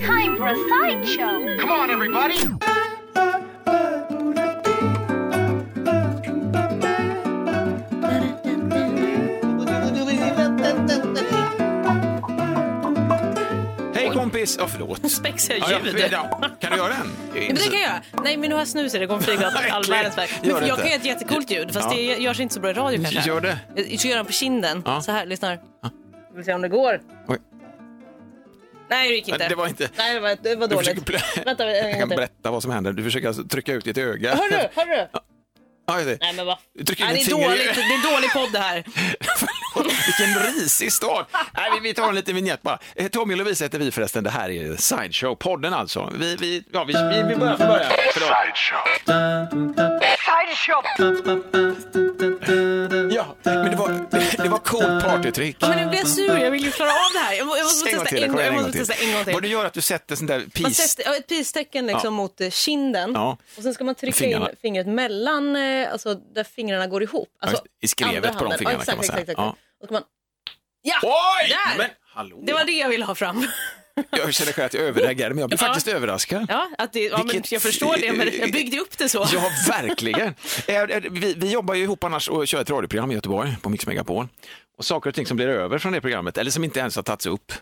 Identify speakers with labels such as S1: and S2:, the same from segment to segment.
S1: Opera Sideshow.
S2: Come on, everybody!
S3: Hej kompis! Ja, förlåt.
S4: Spexiga
S3: Ja, ja,
S4: ljud.
S3: ja. Kan du göra den?
S4: Ja, men det kan jag göra. Nej, men nu har jag snus i det. Kommer flyga åt
S3: Äckligt.
S4: all världens väg. Men
S3: Gör det
S4: Jag
S3: inte.
S4: kan göra ett jättecoolt ljud, fast
S3: Ja.
S4: det görs inte så bra i radio kanske. Eh,
S3: Gör det.
S4: Jag ska göra den på kinden.
S3: Ja.
S4: Så här, lyssnar. Vi får se om det går.
S3: Oj.
S4: Nej, det gick inte.
S3: Det var inte...
S4: Nej, det var, det var
S3: Du
S4: dåligt.
S3: försöker plö-
S4: Vänta, en
S3: jag
S4: gång
S3: kan
S4: till.
S3: berätta vad som händer. Du försöker alltså trycka ut ditt öga.
S4: Hör du? Hör du?
S3: Ja, det.
S4: Nej, men vad...
S3: Du trycker
S4: Nej,
S3: in
S4: det, är
S3: ditt finger i-
S4: dåligt. det är dålig podd det här.
S3: Förlåt, Vilken risig start! Nej, vi, vi tar en liten vignett bara. Eh, Tommy och Lovisa heter vi förresten. Det här är Sideshow-podden alltså. Vi, vi, ja, vi, vi, vi börjar från början. Förlåt.
S1: Sideshow.
S3: Ja, men det var, det var coolt partytrick.
S4: Ja, men nu blir jag sur. Jag vill ju klara av det här. Jag, må- jag måste
S3: En gång
S4: testa
S3: till,
S4: en,
S3: kom
S4: gång- jag
S3: igen,
S4: måste testa en gång till.
S3: Vad du gör är att du sätter sån där
S4: Man
S3: pis...
S4: sätter, ja, ett pistecken liksom
S3: Ja.
S4: mot eh, kinden
S3: Ja.
S4: och sen ska man trycka
S3: Fingrarna.
S4: in fingret mellan, eh, alltså där fingrarna går ihop. Alltså,
S3: Ja, I skrevet
S4: andra
S3: på de
S4: handen.
S3: fingrarna
S4: ja, exakt,
S3: kan man säga.
S4: Exakt, exakt. Och ska man... Ja!
S3: Oj!
S4: Där!
S3: Men hallå!
S4: Det var det jag ville ha fram.
S3: Jag känner själv att jag överreagerar, men jag blir
S4: Ja.
S3: faktiskt överraskad.
S4: Ja, att det, ja men
S3: Vilket-
S4: jag förstår det, men jag byggde upp det så.
S3: Ja, verkligen. Eh, eh, Vi, vi jobbar ju ihop annars och kör ett radioprogram i Göteborg på Mix Megapol. Och saker och ting som blir över från det programmet, eller som inte ens har tagits upp,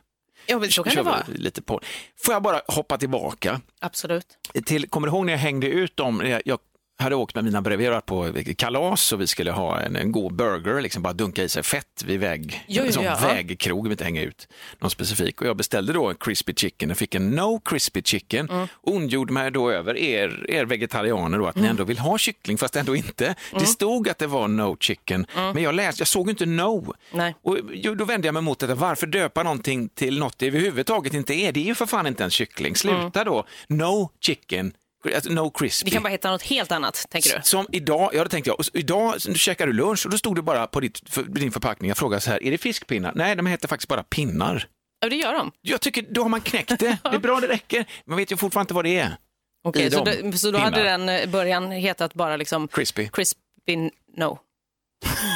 S4: Ja, men så kan
S3: kör
S4: det vara.
S3: vi lite på. Får jag bara hoppa tillbaka
S4: Absolut.
S3: till, kommer du ihåg när jag hängde ut dem? Jag- Jag hade åkt med mina breverar på kalas och vi skulle ha en, en god burger, liksom bara dunka i sig fett vid väg,
S4: Jo,
S3: en sån
S4: ja.
S3: vägkrog, vi inte hänga ut någon specifik. Och jag beställde då en crispy chicken och fick en no crispy chicken.
S4: Mm.
S3: Ondgjorde mig då över er, er vegetarianer då, att
S4: Mm.
S3: ni ändå vill ha kyckling fast ändå inte. Det stod att det var no chicken, men jag läste, jag såg ju inte no.
S4: Mm. Nej.
S3: Och jo, då vände jag mig mot det. Varför döpa någonting till något det överhuvudtaget inte är? Det är ju för fan inte en kyckling. Sluta då. No chicken, alltså no crispy.
S4: Vi kan bara hitta något helt annat, tänker du?
S3: Som idag, ja det tänkte jag, och s- idag så käkar du lunch och då stod det bara på ditt, för, din förpackning, jag frågade så här, är det fiskpinnar? Nej, de heter faktiskt bara pinnar.
S4: Ja, det gör de.
S3: Jag tycker, då har man knäckt det. Det är bra, det räcker. Man vet ju fortfarande inte vad det är.
S4: Okej,
S3: I
S4: så,
S3: dem.
S4: det- så då hade
S3: Pinnar.
S4: den eh, början hetat bara liksom
S3: Crispy.
S4: Crispin No.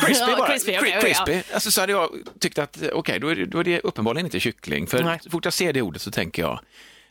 S3: Crispy
S4: Ja,
S3: bara.
S4: crispy, okej,
S3: Cri-
S4: okej, ja.
S3: crispy. Alltså, så hade jag tyckt att eh, okej, då, är det- då är det uppenbarligen inte kyckling. För
S4: Nej.
S3: så fort jag ser det ordet så tänker jag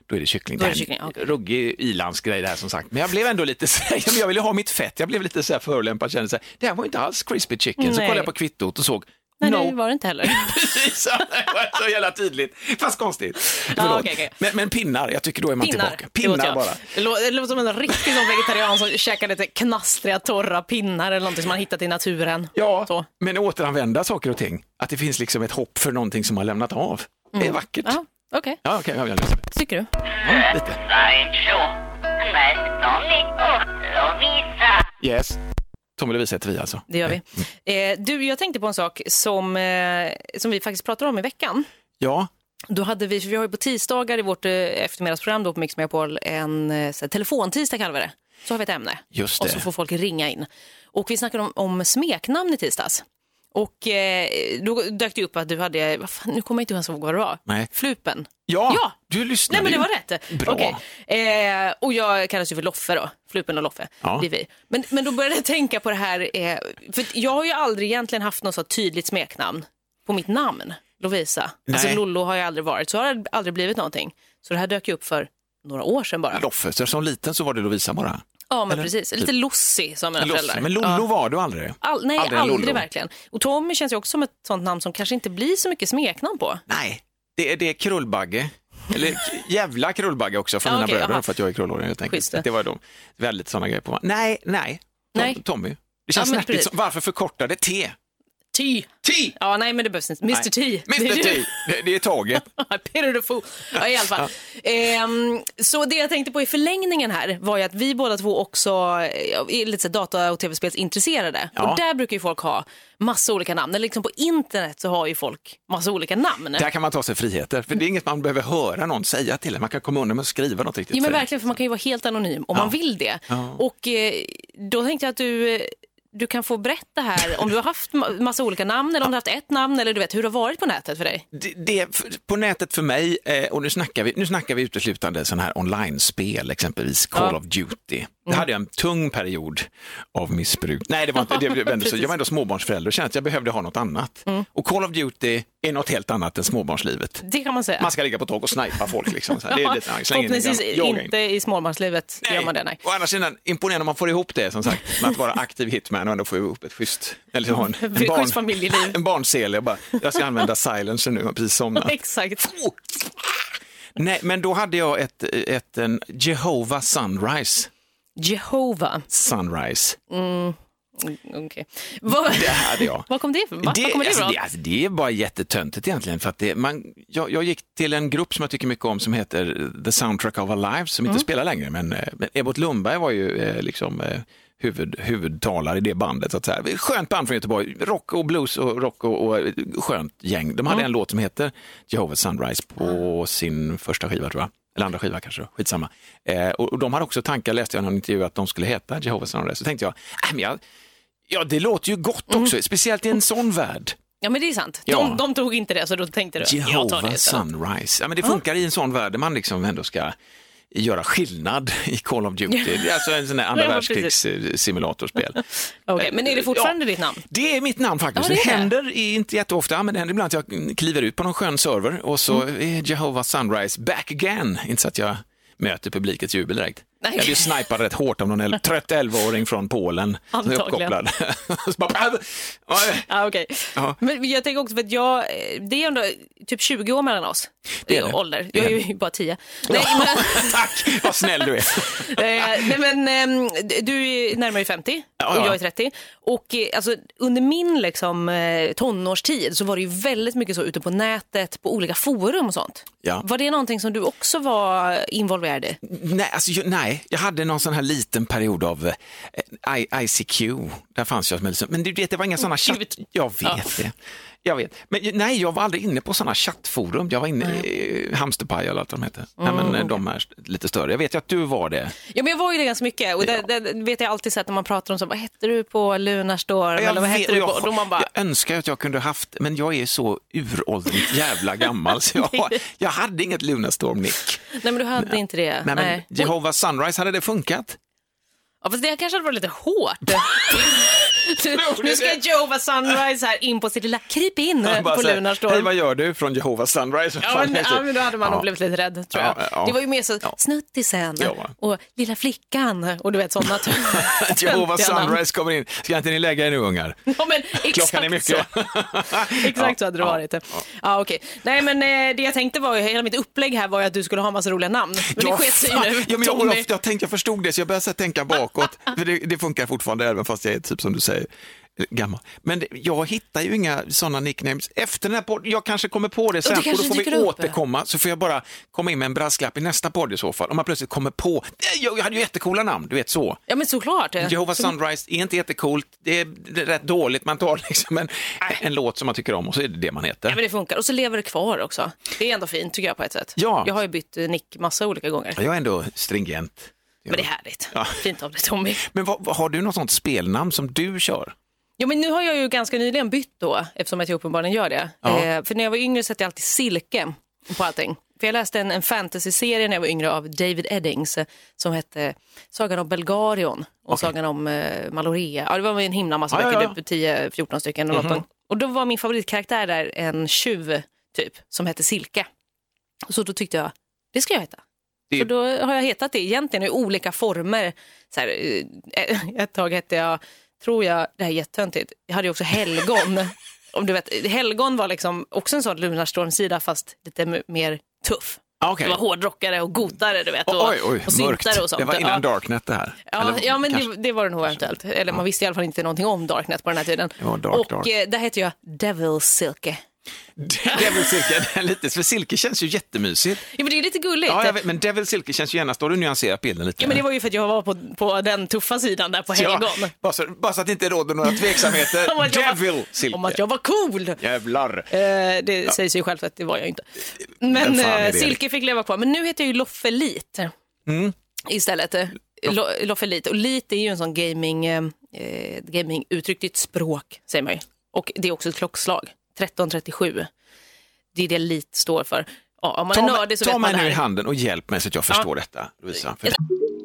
S3: då är det kyckling.
S4: Då är det
S3: här
S4: kyckling,
S3: en
S4: okej.
S3: Ruggig ilandsgrej det här som sagt. Men jag blev ändå lite så här, ja, men jag ville ha mitt fett. Jag blev lite så här förolämpad. Kände så här, det här var ju inte alls crispy chicken. Så
S4: Nej.
S3: kollade jag på kvittot och såg
S4: Nej,
S3: no.
S4: det var det inte heller.
S3: Precis, det var så jävla tydligt. Fast konstigt. Förlåt.
S4: okej, okej.
S3: Men, men pinnar, jag tycker då är man tillbaka.
S4: det åt
S3: Pinnar
S4: jag.
S3: bara.
S4: Det lå- det låter som en riktig sån vegetarian som käkar lite knastriga, torra pinnar eller någonting som man hittat i naturen.
S3: Ja,
S4: Så.
S3: men återanvända saker och ting. Att det finns liksom ett hopp för någonting som har lämnat av. Det är vackert.
S4: Mm. Ja, okej.
S3: Ja, okej, ja, ja, ja.
S4: Tycker du?
S3: Lite.
S1: Sideshow. Med Tommy och Lovisa.
S3: Yes. Tommy Lovisa heter vi alltså.
S4: Det gör vi. Eh, du, jag tänkte på en sak som, eh, som vi faktiskt pratade om i veckan.
S3: Ja,
S4: Då hade vi, för vi har ju på tisdagar i vårt eh, eftermiddagsprogram då på Mix Megapol en eh, så här, telefontisdag kallar vi det. Så har vi ett ämne.
S3: Just
S4: Och
S3: det.
S4: så får folk ringa in. Och vi snackade om, om smeknamn i tisdags. Och eh, då dök det upp att du hade, vad fan, nu kommer jag inte ens ihåg vad det var.
S3: Nej.
S4: Flupen.
S3: ja,
S4: Ja.
S3: du
S4: Nej
S3: lyssnade
S4: men det
S3: ju.
S4: var rätt.
S3: Bra.
S4: Okej. Eh, och jag kallas ju för Loffe då, Flupen och Loffe.
S3: Ja.
S4: Det är vi. Men, men då började jag tänka på det här, eh, för att jag har ju aldrig egentligen haft något så tydligt smeknamn på mitt namn, Lovisa. Alltså
S3: Nej.
S4: Lollo har jag aldrig varit, så har det aldrig blivit någonting. Så det här dök ju upp för några år sedan bara.
S3: Loffe, så som liten så var det Lovisa bara.
S4: ja men
S3: eller?
S4: precis, lite lossig som mina
S3: Loffe.
S4: föräldrar.
S3: Men Lollo
S4: Ja.
S3: var du aldrig.
S4: All, nej,
S3: Aldrig
S4: aldrig,
S3: en Lollo.
S4: verkligen. Och Tommy känns ju också som ett sånt namn som kanske inte blir så mycket smeknamn på.
S3: Nej, det är, det är krullbagge. Eller k- jävla krullbagge också från
S4: Ja,
S3: mina
S4: okej,
S3: bröder
S4: aha.
S3: för att jag är krullhårig helt
S4: Schysst
S3: enkelt.
S4: det.
S3: Det var de. Väldigt sådana grejer på Nej, nej. Tom,
S4: Nej.
S3: Tommy. Det känns
S4: Ja, men
S3: snärtigt.
S4: precis.
S3: som- Varför förkorta det T?
S4: Ty.
S3: T!
S4: Ja, nej men det behövs inte. Mr
S3: Nej.
S4: Ty. Det är
S3: Mr
S4: ju-
S3: T! Det, det är taget.
S4: Peter the Fool. Ja, i alla fall. Ehm, så det jag tänkte på i förlängningen här var ju att vi båda två också eh, är lite så här data och tv-spelsintresserade.
S3: Ja.
S4: Och där brukar ju folk ha massa olika namn. Eller liksom på internet så har ju folk massa olika namn.
S3: Där kan man ta sig friheter. För det är inget man behöver höra någon säga till en. Man kan komma undan med att skriva något riktigt.
S4: Jo men
S3: fränt.
S4: verkligen, för man kan ju vara helt anonym om man vill det. Och eh, då tänkte jag att du, eh, du kan få berätta här om du har haft ma- massa olika namn eller om du har haft ett namn eller du vet hur det har varit på nätet för dig.
S3: det, det f- på nätet för mig, eh, och nu snackar vi, nu snackar vi uteslutande sådana här online-spel, exempelvis Call of Duty. Jag
S4: Mm.
S3: hade en tung period av missbruk. Nej, det var inte, det vände sig. jag var ändå småbarnsförälder och kände att jag behövde ha något annat.
S4: Mm.
S3: Och Call of Duty är något helt annat än småbarnslivet.
S4: Det kan man säga.
S3: Man ska ligga på tak och snipa folk. Liksom. Så här, Det är lite, släng in en
S4: Förhoppningsvis
S3: gammal- jaga in.
S4: inte i småbarnslivet gör man det. Nej.
S3: Å andra sidan, imponerande om man får ihop det som sagt, med att vara aktiv hitman och ändå få ihop ett schysst, eller ha en, en,
S4: Schysst
S3: barn,
S4: familjeliv.
S3: en barnsele. Jag bara, jag ska använda silencer nu, jag har precis somnat.
S4: Exakt.
S3: Nej, men då hade jag ett, ett en Jehovah Sunrise.
S4: Jehova.
S3: Sunrise,
S4: Mm, Okej. Vad,
S3: det hade jag.
S4: vad kom det ifrån? Va? Var
S3: Det,
S4: kommer det
S3: alltså,
S4: ifrån?
S3: det, alltså, det är bara jättetöntigt egentligen. För att det, man, jag, jag gick till en grupp som jag tycker mycket om som heter The Soundtrack of Our Lives som
S4: Mm.
S3: inte spelar längre. Men, eh, men Ebbot Lundberg var ju eh, liksom eh, huvud, huvudtalare i det bandet. Så att säga. Skönt band från Göteborg. Rock och blues och rock och, och eh, skönt gäng. De hade en låt som heter Jehovah's Sunrise på
S4: Mm.
S3: sin första skiva tror jag. Eller andra skiva kanske, då. skitsamma. Eh, och, och de hade också tankar, läste jag i någon intervju, att de skulle heta Jehovah's Sunrise. Så tänkte jag, äh, men jag Ja, det låter ju gott
S4: Mm.
S3: också, speciellt i en sån värld.
S4: Ja, men det är sant. De,
S3: Ja.
S4: de tog inte det, så då tänkte du jag tar det
S3: Jehovah
S4: istället.
S3: Sunrise. Ja, men det funkar i en sån värld där man liksom ändå ska göra skillnad i Call of Duty. Det är alltså en sån där andra
S4: Ja,
S3: världskrigssimulatorspel.
S4: Okej, Men är det fortfarande ditt namn?
S3: Det är mitt namn faktiskt.
S4: Ja, det
S3: det
S4: är det.
S3: händer i- inte jätteofta, men det händer ibland att jag kliver ut på någon skön server och så
S4: Mm.
S3: är Jehovah Sunrise back again. Inte så att jag möter publikens jubel direkt.
S4: Nej.
S3: Jag blev snipad rätt hårt av någon el- trött 11-åring från Polen. som är
S4: Antagligen.
S3: uppkopplad. så bara, Oj.
S4: Ja, okej.
S3: Ja.
S4: Men jag tänker också för att jag, eh, det är ändå typ 20 år mellan oss.
S3: Det är
S4: i
S3: det.
S4: Ålder.
S3: Det
S4: Jag
S3: är
S4: är ju bara 10. Nej, men,
S3: Tack, vad snäll du är.
S4: eh, nej, men ehm, d- du är närmare 50
S3: Ja,
S4: och
S3: ja.
S4: jag är 30. Och eh, alltså, under min liksom, eh, tonårstid så var det ju väldigt mycket så ute på nätet, på olika forum och sånt.
S3: Ja.
S4: Var det någonting som du också var involverad i?
S3: Nej, alltså, jag, nej, jag hade någon sån här liten period av eh, I, ICQ. Där fanns jag som en liksom, men du vet, det var inga sådana chatt...
S4: Mm, Gud.
S3: Jag vet det. Jag vet. Men ju- nej, jag var aldrig inne på sådana chattforum. Jag var inne i eh, Hamsterpaj eller allt vad de heter. nej, men eh, de här lite större. Jag vet ju att du var det.
S4: Mm. Ja, men jag var ju det ganska mycket och det, det vet jag alltid sett när man pratar om så, vad hette du på Lunarstorm
S3: Jag
S4: eller vad
S3: vet-
S4: hette du
S3: och
S4: på?
S3: jag,
S4: Då man bara,
S3: jag önskar att jag kunde haft, men jag är så uråldrigt jävla gammal så jag, har- jag hade inget Lunarstorm-nick.
S4: nej men du hade inte det.
S3: Nej, men
S4: nej.
S3: Jehovas Sunrise, hade det funkat?
S4: Ja, fast det kanske hade varit lite hårt. Nu- nu ska
S3: det.
S4: Jehovah Sunrise här in på sitt lilla kryp in
S3: Han bara
S4: på
S3: så här, Hej,
S4: Lunarstorm.
S3: vad gör du från Jehovas Sunrise?
S4: Ja, men, ja, men då hade man
S3: Ja.
S4: nog blivit lite rädd tror jag.
S3: Ja, ja.
S4: Det var ju mer så snuttisen
S3: Ja, va.
S4: och lilla flickan och du vet sådana
S3: Jehovas
S4: töntiga namn.
S3: Sunrise kommer in. Ska inte ni lägga er nu ungar?
S4: Ja, men
S3: Klockan är
S4: exakt
S3: mycket.
S4: så. Exakt så hade det varit. Ja, okej. Nej, men eh, det jag tänkte var ju, hela mitt upplägg här var ju att du skulle ha massa roliga namn. Men det
S3: Ja,
S4: sket sig
S3: fan.
S4: ju nu.
S3: ja, men jag,
S4: Tommy.
S3: Olof, jag, tänkte, jag förstod det, så jag började så här tänka bakåt. För det, det funkar fortfarande, även fast jag är typ som du säger eh, gammal. Men det- jag hittar ju inga sådana nicknames. Efter den här podden, jag kanske kommer på det sen och,
S4: kanske
S3: då får vi
S4: dyker upp.
S3: återkomma. Så får jag bara komma in med en brasklapp i nästa podd i så fall. Om man plötsligt kommer på, "Nej, jag, jag hade ju jättecoola namn, du vet så.
S4: Ja, men såklart.
S3: Jehovah Sunrise är inte jättecoolt, det är rätt dåligt, man tar liksom en, en låt som man tycker om och så är det det man
S4: Ja,
S3: heter.
S4: men det funkar. Och så lever det kvar också. Det är ändå fint tycker jag på ett sätt.
S3: Ja.
S4: Jag har ju bytt eh, nick massa olika gånger.
S3: Jag är ändå stringent.
S4: Men det är härligt.
S3: Ja.
S4: Fint av dig Tommy.
S3: Men vad, vad, har du något sånt spelnamn som du kör?
S4: Ja, men nu har jag ju ganska nyligen bytt då, eftersom att jag uppenbarligen gör det.
S3: Ja.
S4: Eh, för när jag var yngre så hette jag alltid Silke på allting. För jag läste en, en fantasyserie när jag var yngre av David Eddings eh, som hette Sagan om Belgarion och Sagan om eh, Malorea. Ja, det var en himla massa
S3: Ja, ja,
S4: böcker,
S3: ja. Mhm.
S4: typ 10-14 stycken. eller något. Och då var min favoritkaraktär där en tjuv typ som hette Silke. Så då tyckte jag, det ska jag heta.
S3: Det är-
S4: Så då har jag hetat det egentligen i olika former. Så här, eh, ett tag hette jag, tror jag, det här är jättetöntigt, jag hade ju också helgon. Om du vet, helgon var liksom också en sån Lunarstorm-sida fast lite m- mer tuff.
S3: Okay.
S4: Det var hårdrockare och gotare du vet. Och,
S3: Ah, oj, oj,
S4: och
S3: mörkt.
S4: syntare och sånt.
S3: Det var innan
S4: ja.
S3: Darknet det här.
S4: Ja,
S3: Eller
S4: ja, men
S3: kanske-
S4: det, det var det nog eventuellt. Eller man visste i alla fall inte någonting om Darknet på den här tiden.
S3: var dark,
S4: och
S3: dark.
S4: eh, där hette jag Devil Silke.
S3: Devil Silke, det är lite, för Silke känns ju jättemysigt.
S4: Ja, men det är lite gulligt.
S3: Ja, jag vet, men Devil Silke känns ju genast, då har du nyanserat bilden lite.
S4: Ja, men det var ju för att jag var på, på den tuffa sidan där på
S3: Ja,
S4: helgon.
S3: bara, så, bara så att det inte råder några tveksamheter.
S4: Om att jag var-
S3: Devil Silke.
S4: Om att jag var cool.
S3: Jävlar.
S4: Eh, det sägs ju självt att det var jag inte.
S3: Vem
S4: Men
S3: fan är
S4: eh,
S3: det?
S4: Silke fick leva kvar. Men nu heter jag ju Loffelit
S3: Mm.
S4: istället. eh, Lo, Loffelit. Och lit är ju en sån gaming, eh, eh, gaming uttryckt i ett språk, säger man ju. Och det är också ett klockslag, 1337. Det är det lit står för. Ja, om man
S3: Ta,
S4: är
S3: mig-
S4: nördig så
S3: ta
S4: vet man
S3: mig
S4: det
S3: nu i
S4: här.
S3: handen och hjälp mig så att jag förstår detta, Lovisa. För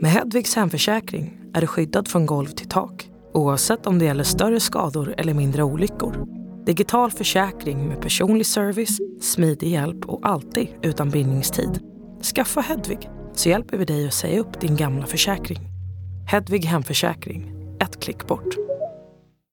S2: Med Hedvigs hemförsäkring är du skyddad från golv till tak oavsett om det gäller större skador eller mindre olyckor. Digital försäkring med personlig service, smidig hjälp och alltid utan bindningstid. Skaffa Hedvig så hjälper vi dig att säga upp din gamla försäkring. Hedvig hemförsäkring, ett klick bort.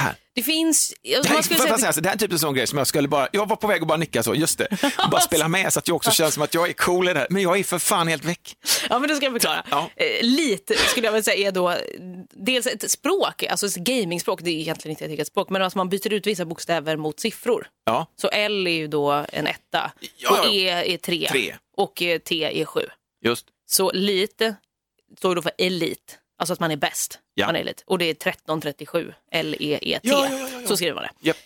S3: Här.
S4: Det finns...
S3: Det
S4: Alltså, man
S3: här,
S4: skulle
S3: för
S4: säga
S3: att
S4: att-
S3: säga, så, det här är typ en sån grej som jag skulle bara, jag var på väg att bara nicka så, just det, och bara spela med så att jag också känns som att jag är cool i det här, men jag är för fan helt väck.
S4: Ja, men det ska jag förklara.
S3: Ja.
S4: Eh, Lite skulle jag väl säga är då dels ett språk, alltså ett gamingspråk, det är egentligen inte ett eget språk, men alltså man byter ut vissa bokstäver mot siffror.
S3: Ja,
S4: Så L är ju då en etta
S3: Ja,
S4: och
S3: ja.
S4: E är tre,
S3: Tre.
S4: och eh, T är sju.
S3: just.
S4: Så lite står då för elit, alltså att man är bäst.
S3: Ja.
S4: Man är elit. Och det är 1337 L-E-E-T.
S3: Ja, ja, ja, ja, ja.
S4: E, Så skriver man det.
S3: Japp.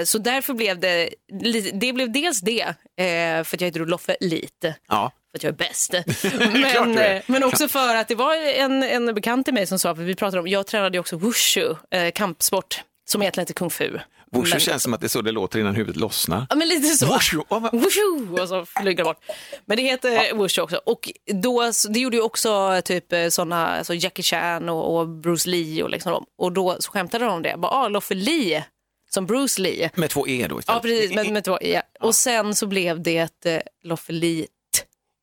S4: Eh, så därför blev det, li- det blev dels det, eh, för att jag heter Olof lite
S3: Ja.
S4: för att jag är bäst.
S3: Klart
S4: Men,
S3: du är.
S4: eh, men också för att det var en, en bekant till mig som sa, för vi pratade om, jag tränade ju också wushu, eh, kampsport, som egentligen heter kung fu.
S3: Wushu
S4: Men-
S3: känns som att det är så det låter innan huvudet lossnar.
S4: Ja, men lite så.
S3: Wushu, ja, vad-
S4: Wushu! Och så flyger det bort. Men det heter wushu också. Och då, så- det gjorde ju också typ eh, såna, alltså Jackie Chan och, och Bruce Lee och liksom dem. Och då så skämtade de om det. Bara, ah, Loffe Lee, som Bruce Lee.
S3: Med två E då
S4: Ja, precis. Men, men, det var- ja. Och sen så blev det eh, Loffelit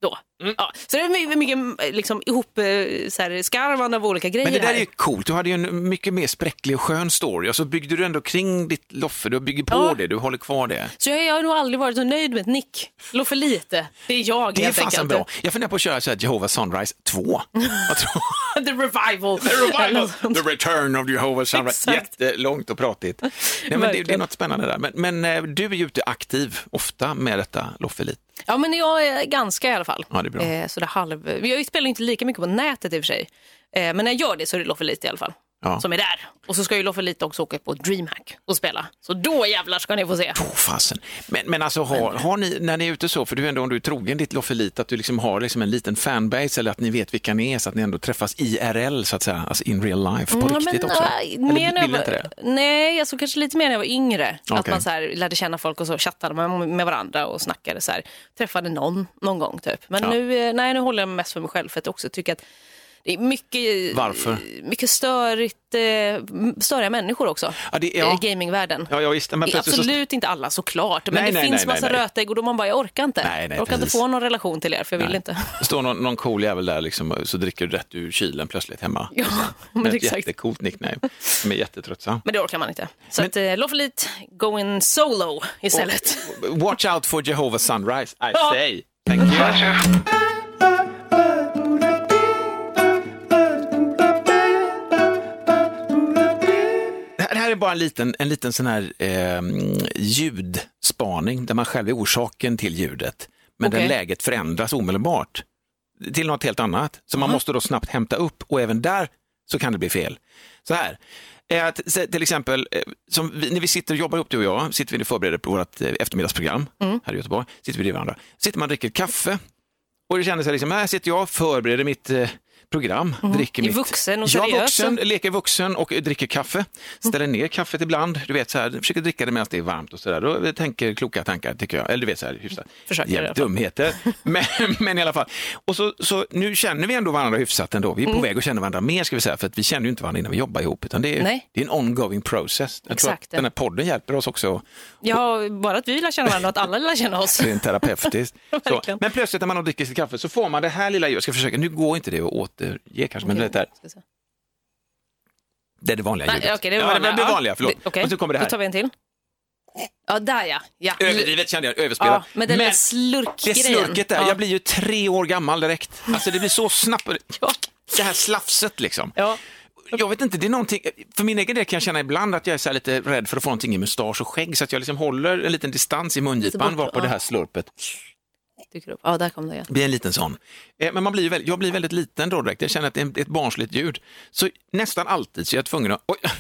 S4: då.
S3: Mm.
S4: Ja. Så det är mycket, mycket liksom, ihop, eh, så här, skarvande av olika grejer.
S3: Men det där
S4: här.
S3: är ju coolt, du hade ju en mycket mer spräcklig och skön story och så byggde du ändå kring ditt Loffe, du bygger på
S4: Ja.
S3: det, du håller kvar det.
S4: Så jag, jag har nog aldrig varit så nöjd med ett nick. Loffelite, det är jag
S3: Det är
S4: helt
S3: fasen
S4: enkelt.
S3: bra. Jag funderar på att köra så här Jehovah's Sunrise 2. Jag tror-
S4: The revival.
S3: The
S4: Eller
S3: revival,
S4: sånt.
S3: the return of Jehovah's Sunrise.
S4: Exakt.
S3: Jättelångt och pratigt. Nej, men det, det är
S4: Verkligen.
S3: något spännande där. Men, men eh, du är ju ute aktiv ofta med detta Loffelit.
S4: Ja, men jag är ganska i alla fall.
S3: Ja, det är bra.
S4: Eh, så det halv... Jag spelar inte lika mycket på nätet i och för sig. Eh, men när jag gör det så är det Loffelite i alla fall.
S3: Ja.
S4: Som är där. Och så ska ju Loffelite också åka på DreamHack och spela. Så då jävlar ska ni få se.
S3: Åh, fasen. Men, men alltså har, har ni, när ni är ute så, för du är ändå, om du är trogen ditt Loffelit, att du liksom har liksom en liten fanbase eller att ni vet vilka ni är så att ni ändå träffas IRL så att säga, alltså in real life på
S4: Ja,
S3: riktigt också.
S4: nej,
S3: Eller
S4: mer när jag
S3: vill
S4: var-
S3: inte det?
S4: Nej, alltså kanske lite mer när jag var yngre. Att
S3: Okej.
S4: man så här, lärde känna folk och så chattade man med varandra och snackade så här. Träffade någon någon gång typ. Men
S3: Ja.
S4: nu, eh, nej, nu håller jag mig mest för mig själv för att jag också tycker att det är mycket,
S3: Varför?
S4: mycket störigt, eh, m- störiga människor också
S3: Ja, det,
S4: i
S3: ja.
S4: gamingvärlden.
S3: Ja, ja, visst. Men
S4: Det är
S3: plötsligt så-
S4: absolut inte alla såklart, men
S3: Nej,
S4: det
S3: nej,
S4: finns
S3: nej,
S4: massa
S3: nej, nej.
S4: rötägg och då man bara, jag orkar inte.
S3: Nej, nej,
S4: jag orkar
S3: precis.
S4: inte få någon relation till er, för jag vill
S3: Nej.
S4: inte.
S3: står någon, någon cool jävel där liksom, och så dricker du rätt ur kylen plötsligt hemma.
S4: Ja,
S3: Med
S4: men
S3: ett
S4: exakt.
S3: jättecoolt nickname som är jättetröttsam.
S4: Men det orkar man inte. Så att, eh, Loffelit, go in solo istället.
S3: Watch out for Jehovah's Sunrise, I
S4: Ja.
S3: say. Thank you. Det här- det här är bara en liten, en liten sån här eh, ljudspaning där man själv är orsaken till ljudet. Men där
S4: Okej.
S3: läget förändras omedelbart till något helt annat. Så man måste då snabbt hämta upp och även där så kan det bli fel. Så här, eh, att se- till exempel, eh, som vi, när vi sitter och jobbar ihop du och jag, sitter vi och förbereder på vårt eh, eftermiddagsprogram
S4: Mm.
S3: här i Göteborg, sitter vi bredvid varandra, sitter man och dricker kaffe och det kändes så här, liksom, här sitter jag och förbereder mitt eh, program, dricker
S4: Är
S3: mitt...
S4: Mhm. vuxen och
S3: Jag är
S4: seriös. Mm.
S3: vuxen, leker vuxen och dricker kaffe, ställer ner kaffet ibland, du vet så här, försöker dricka det medan det är varmt och så där, då tänker kloka tankar tycker jag, eller du vet så här, hyfsat.
S4: Försöker i alla
S3: Jävligt
S4: fall.
S3: dumheter. Men, men i alla fall. Och så, så nu känner vi ändå varandra hyfsat ändå. Vi är på
S4: Mm.
S3: väg att känna varandra mer ska vi säga, för att vi känner ju inte varandra innan vi jobbar ihop, utan det är,
S4: Nej.
S3: det är en ongoing process. Jag tror
S4: Exakt.
S3: att den här podden hjälper oss också
S4: Ja, bara att vi lär känna varandra och att alla lär känna oss.
S3: rent terapeutiskt. så.
S4: Verkligen.
S3: Men plötsligt när man har dricker sitt kaffe så får man det här lilla, jag ska försöka, nu går inte det att återge kanske, men det, där,
S4: Ska vi se.
S3: det är det vanliga
S4: Nej,
S3: ljudet.
S4: okej, det är
S3: Ja,
S4: vanliga.
S3: det, det
S4: Ja.
S3: vanliga, förlåt.
S4: Det- okej.
S3: Och så kommer det
S4: Då tar
S3: här.
S4: vi en till. Ja, där ja. ja.
S3: Överdrivet kände jag, överspelat.
S4: Ja, men den där
S3: det
S4: slurkgrejen.
S3: slurket där,
S4: ja.
S3: jag blir ju tre år gammal direkt. Alltså det blir så snabbt, det här slafset liksom.
S4: Ja.
S3: Jag vet inte, det är någonting, för min egen del kan jag känna ibland att jag är så här lite rädd för att få någonting i mustasch och skägg så att jag liksom håller en liten distans i mungipan
S4: Lite bort,
S3: varpå det här slurpet
S4: Dyker upp. Ja, där kom det igen.
S3: blir en liten sån. Eh, Men man blir ju väldigt, jag blir väldigt liten då direkt, jag känner att det är ett barnsligt ljud. Så nästan alltid så är jag tvungen att, oj,
S4: alltså,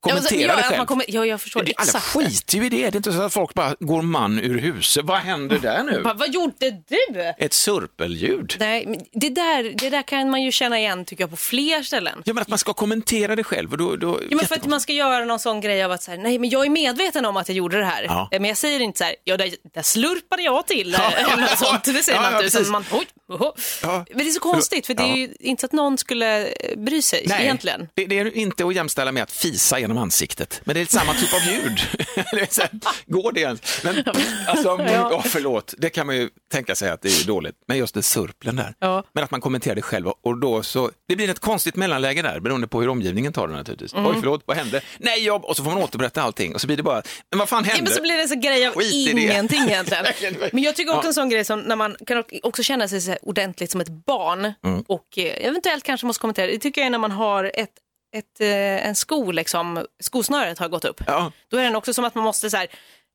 S3: Kommentera
S4: ja,
S3: det
S4: att
S3: själv.
S4: Man kommer, ja, jag förstår.
S3: Det- Alla
S4: exakt.
S3: skiter ju i det. Det är inte så att folk bara går man ur huset. Vad händer där nu?
S4: Bara, Vad gjorde du?
S3: Ett surpelljud.
S4: Nej, men det, där, det där kan man ju känna igen tycker jag på fler ställen.
S3: Ja, men att man ska kommentera det själv. Och då, då,
S4: Ja, men för att man ska göra någon sån grej av att så här, nej men jag är medveten om att jag gjorde det här.
S3: Ja.
S4: Eh, Men jag säger inte så här, ja där, där slurpade jag till eller något sånt. Det säger
S3: Ja,
S4: man
S3: ja,
S4: inte.
S3: precis.
S4: utan man, oj, oho.
S3: Ja.
S4: Men det är så konstigt för det är ju inte att någon skulle eh, bry sig
S3: Nej,
S4: egentligen.
S3: Det, det är inte att jämställa med att fisa genom ansiktet, men det är samma typ av ljud. Eller så här, Går det ens? Men, alltså, ja. förlåt, det kan man ju tänka sig att det är dåligt, men just det surplen där.
S4: Ja.
S3: Men att man kommenterar det själv och då så, det blir ett konstigt mellanläge där beroende på hur omgivningen tar det naturligtvis.
S4: Mm.
S3: Oj, förlåt, vad hände? Nej, jag... Och så får man återberätta allting och så blir det bara, men vad fan hände?
S4: Ja, men så blir det en sån grej av
S3: Skit i det.
S4: ingenting egentligen.
S3: Verkligen, verkligen.
S4: Men jag tycker också
S3: Ja.
S4: en sån grej som när man kan också känna sig så här ordentligt som ett barn
S3: Mm.
S4: och eh, eventuellt kanske måste kommentera. Det tycker jag är när man har ett, ett, eh, en sko, liksom, skosnöret har gått upp.
S3: Ja.
S4: Då är den också som att man måste så här,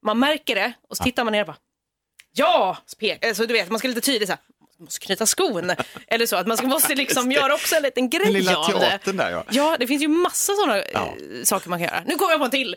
S4: man märker det och så tittar man ner och bara ja, pek. Alltså, du vet, man ska lite tydligt så här, måste knyta skon eller så. Att man ska, måste liksom göra också en liten grej
S3: Den lilla
S4: av det.
S3: teatern där ja.
S4: Ja, det finns ju massa sådana
S3: Ja.
S4: saker man kan göra. Nu kommer jag på en till.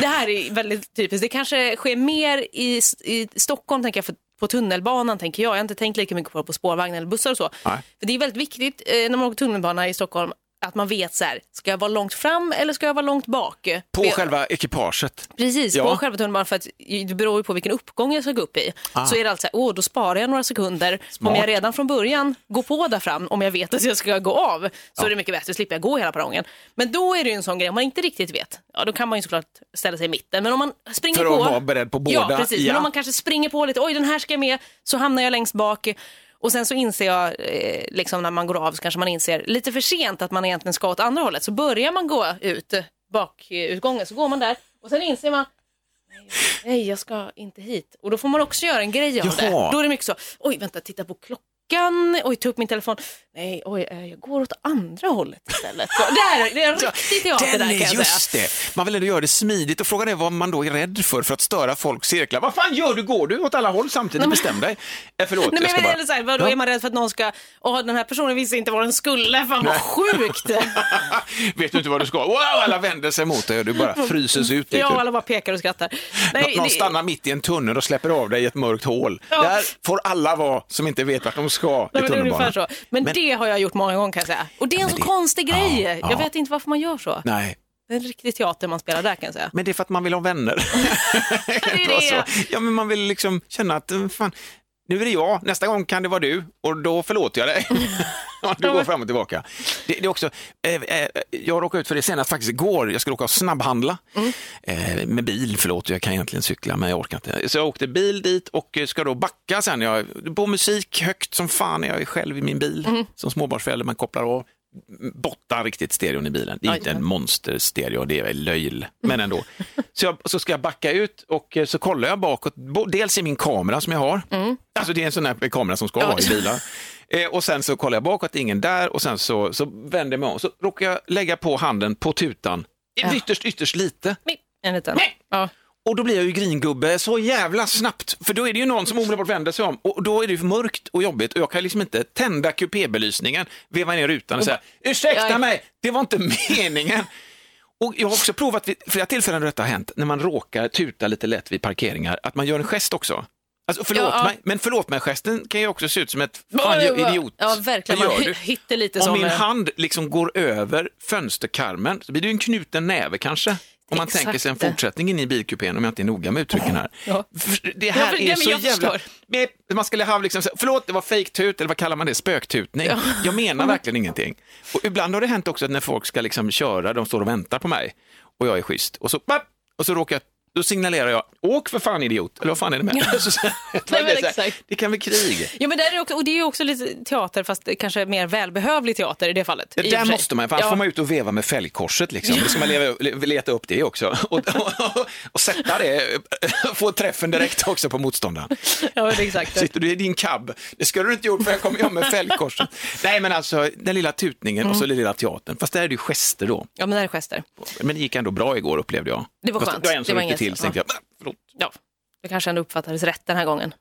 S4: Det här är väldigt typiskt. Det kanske sker mer i, i Stockholm, tänker jag, för, på tunnelbanan, tänker jag. Jag har inte tänkt lika mycket på det på spårvagn eller bussar och så.
S3: Nej.
S4: För det är väldigt viktigt eh, när man åker tunnelbana i Stockholm att man vet så här, ska jag vara långt fram eller ska jag vara långt bak?
S3: På
S4: För-
S3: själva ekipaget.
S4: Precis,
S3: Ja.
S4: på själva tunnelbanan för att det beror ju på vilken uppgång jag ska gå upp i. Så är det alltså så här, åh, då sparar jag några sekunder. Om jag redan från början går på där fram, om jag vet att jag ska gå av, så är det mycket bättre, slipper jag gå hela perrongen. Men då är det ju en sån grej, om man inte riktigt vet, ja då kan man ju såklart ställa sig i mitten. Men om man springer
S3: För
S4: på...
S3: att vara beredd på båda,
S4: Ja, precis.
S3: ja.
S4: Men om man kanske springer på lite, oj den här ska jag med, så hamnar jag längst bak. Och sen så inser jag, eh, liksom när man går av så kanske man inser lite för sent att man egentligen ska åt andra hållet. Så börjar man gå ut eh, bakutgången, så går man där och sen inser man, nej jag ska inte hit. Och då får man också göra en grej av det.
S3: Jaha.
S4: Då är det mycket så, oj vänta titta på klockan, oj ta upp min telefon, nej oj eh, jag går åt andra hållet istället. Så, där, det är en riktig teater där
S3: Den
S4: kan jag
S3: är
S4: säga.
S3: just det. Man vill ändå göra det smidigt och frågan är vad man då är rädd för, för att störa folks cirklar. Vad fan gör du? Går du åt alla håll samtidigt? Bestäm dig. Eh, förlåt,
S4: Nej, men
S3: jag
S4: jag
S3: ska
S4: menar,
S3: bara...
S4: så här, vadå,
S3: Ja.
S4: är man rädd för att någon ska, åh den här personen visste inte vad den skulle, fan vad sjukt.
S3: Ah, Vet du inte vad du ska? Wow, alla vänder sig mot dig och du bara fryses ut. lite.
S4: ja, och alla bara pekar och skrattar.
S3: Nå- Någon
S4: det-
S3: stannar mitt i en tunnel och släpper av dig i ett mörkt hål.
S4: Ja.
S3: Där får alla vara som inte vet vart de ska
S4: Nej,
S3: i
S4: men det är
S3: tunnelbanan.
S4: ungefär så. Men, det har jag gjort många gånger kan jag säga. Och det är en så
S3: men det-
S4: konstig grej.
S3: Ja, ja.
S4: Jag vet inte varför man gör så.
S3: Nej,
S4: Det är en riktig teater man spelar där kan jag säga.
S3: men det är för att man vill ha vänner.
S4: det är
S3: Då
S4: det.
S3: så. Ja, men man vill liksom känna att eh, fan, nu är det jag, nästa gång kan det vara du och då förlåter jag dig. Ja, du går fram och tillbaka. Det, det är också, eh, eh, jag råkade ut för det senast faktiskt igår, jag skulle åka och snabbhandla
S4: Mm.
S3: eh, med bil, förlåt, jag kan egentligen cykla men jag orkar inte. Så jag åkte bil dit och eh, ska då backa sen, jag, på musik högt som fan, jag är själv i min bil
S4: Mm.
S3: som småbarnsförälder, man kopplar av. Botta riktigt stereon i bilen. Det är inte en monsterstereo, det är löjl, men ändå. Så, jag, så ska jag backa ut och eh, så kollar jag bakåt, bo- dels i min kamera som jag har, alltså det är en sån här kamera som ska vara i bilar. Eh, och sen så kollar jag bakåt, det är ingen där och sen så, så vänder jag mig om så råkar jag lägga på handen på tutan, ytterst, ytterst lite.
S4: Mip, En liten. Ja.
S3: Och då blir jag ju gringubbe så jävla snabbt, för då är det ju någon som omedelbart vänder sig om och då är det ju mörkt och jobbigt och jag kan liksom inte tända kupébelysningen, veva ner rutan och säga ursäkta
S4: Ja.
S3: mig, det var inte meningen. Och jag har också provat vid flera tillfällen då detta har hänt, när man råkar tuta lite lätt vid parkeringar, att man gör en gest också. Alltså förlåt
S4: Ja, ja.
S3: mig, men förlåt mig-gesten kan ju också se ut som ett fan jag är idiot.
S4: Ja, verkligen.
S3: Vad gör
S4: Man
S3: du?
S4: hittar lite
S3: Om
S4: som- eh,
S3: min hand liksom går över fönsterkarmen så blir det ju en knuten näve kanske. Om man
S4: Exakt.
S3: tänker sig en fortsättning in i bilkupén om jag inte är noga med uttrycken här.
S4: Ja.
S3: För Det
S4: Ja,
S3: här
S4: för-
S3: är
S4: ja, men
S3: så
S4: jag
S3: jävla...
S4: förstår.
S3: Nej, Man skulle ha liksom, så här, förlåt det var fejktut eller vad kallar man det, spöktutning. Jag menar verkligen ingenting. Och ibland har det hänt också att när folk ska liksom köra, de står och väntar på mig och jag är schysst och så, papp, och så råkar jag då signalerar jag, åk för fan idiot, eller vad fan är det med? Så, så,
S4: Nej, men
S3: det, så här,
S4: exakt.
S3: det kan bli krig.
S4: Ja, men där är det också, och det är ju också lite teater, fast kanske mer välbehövlig teater i det fallet.
S3: Det
S4: i och för
S3: där
S4: sig.
S3: måste man, för annars
S4: Ja.
S3: får man ut och veva med fälgkorset. Liksom. Då ska man leva, le- leta upp det också. Och, och, och sätta det, få träffen direkt också på motståndaren.
S4: Ja, det är exakt. det.
S3: Sitter du i din cab? Det skulle du inte gjort för jag kommer jag med fälgkorset. Nej men alltså den lilla tutningen och
S4: Mm.
S3: så den lilla teatern. Fast där är det ju gester då.
S4: Ja, men det här är gester.
S3: Men det gick ändå bra igår upplevde jag.
S4: Det var
S3: Fast
S4: skönt.
S3: Det var en
S4: Det
S3: som
S4: var
S3: ryckte
S4: inget-
S3: till så tänkte jag, "Ah, förlåt.
S4: Ja, det kanske ändå uppfattades rätt den här gången.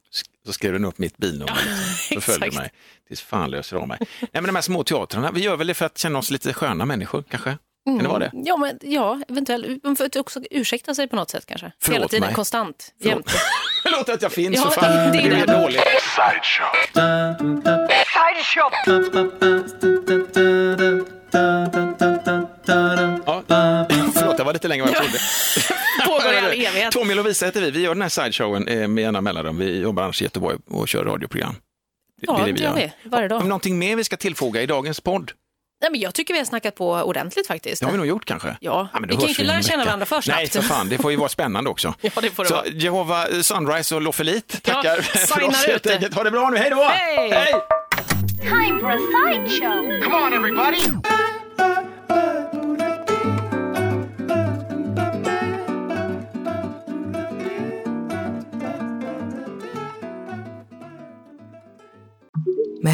S3: Så skrev den upp mitt bilnummer. liksom. Så följde
S4: exakt.
S3: mig tills fan löser av mig. Nej men de här små teatrarna, vi gör väl det för att känna oss lite sköna människor kanske? Kan det vara det?
S4: Ja, men, ja eventuellt. Men För att också ursäkta sig på något sätt kanske.
S3: Förlåt
S4: Hela tiden,
S3: mig.
S4: konstant.
S3: Förlåt.
S4: Jämt.
S3: Förlåt att jag finns,
S4: Ja,
S3: för fan.
S4: det är
S3: Du är
S4: det.
S3: dålig.
S1: Sideshop!
S3: Ja. Förlåt, det var lite längre än vad jag trodde.
S4: Pågår i all
S3: Hörru,
S4: evighet.
S3: Tommy och Lovisa heter vi. Vi gör den här sideshowen eh, med jämna mellanrum. Vi jobbar annars i Göteborg och kör radioprogram.
S4: Ja, det gör vi. Varje dag.
S3: Har vi Någonting mer vi ska tillfoga i dagens podd?
S4: Nej, men jag tycker vi har snackat på ordentligt faktiskt.
S3: Det har vi nog gjort kanske.
S4: Ja,
S3: men då
S4: vi kan ju
S3: hörs
S4: inte
S3: om
S4: lära
S3: en
S4: känna
S3: vecka.
S4: varandra för snabbt.
S3: Nej, för fan. Det får ju vara spännande också.
S4: Ja, det får det
S3: Så
S4: vara.
S3: Jehova, eh, Sunrise och Loffelit tackar
S4: Ja,
S3: för
S4: signar
S3: oss
S4: ut
S3: helt
S4: det.
S3: enkelt. Ha det bra nu. Hej då!
S4: Hej!
S1: Time for a sideshow! Come on, everybody!
S2: Med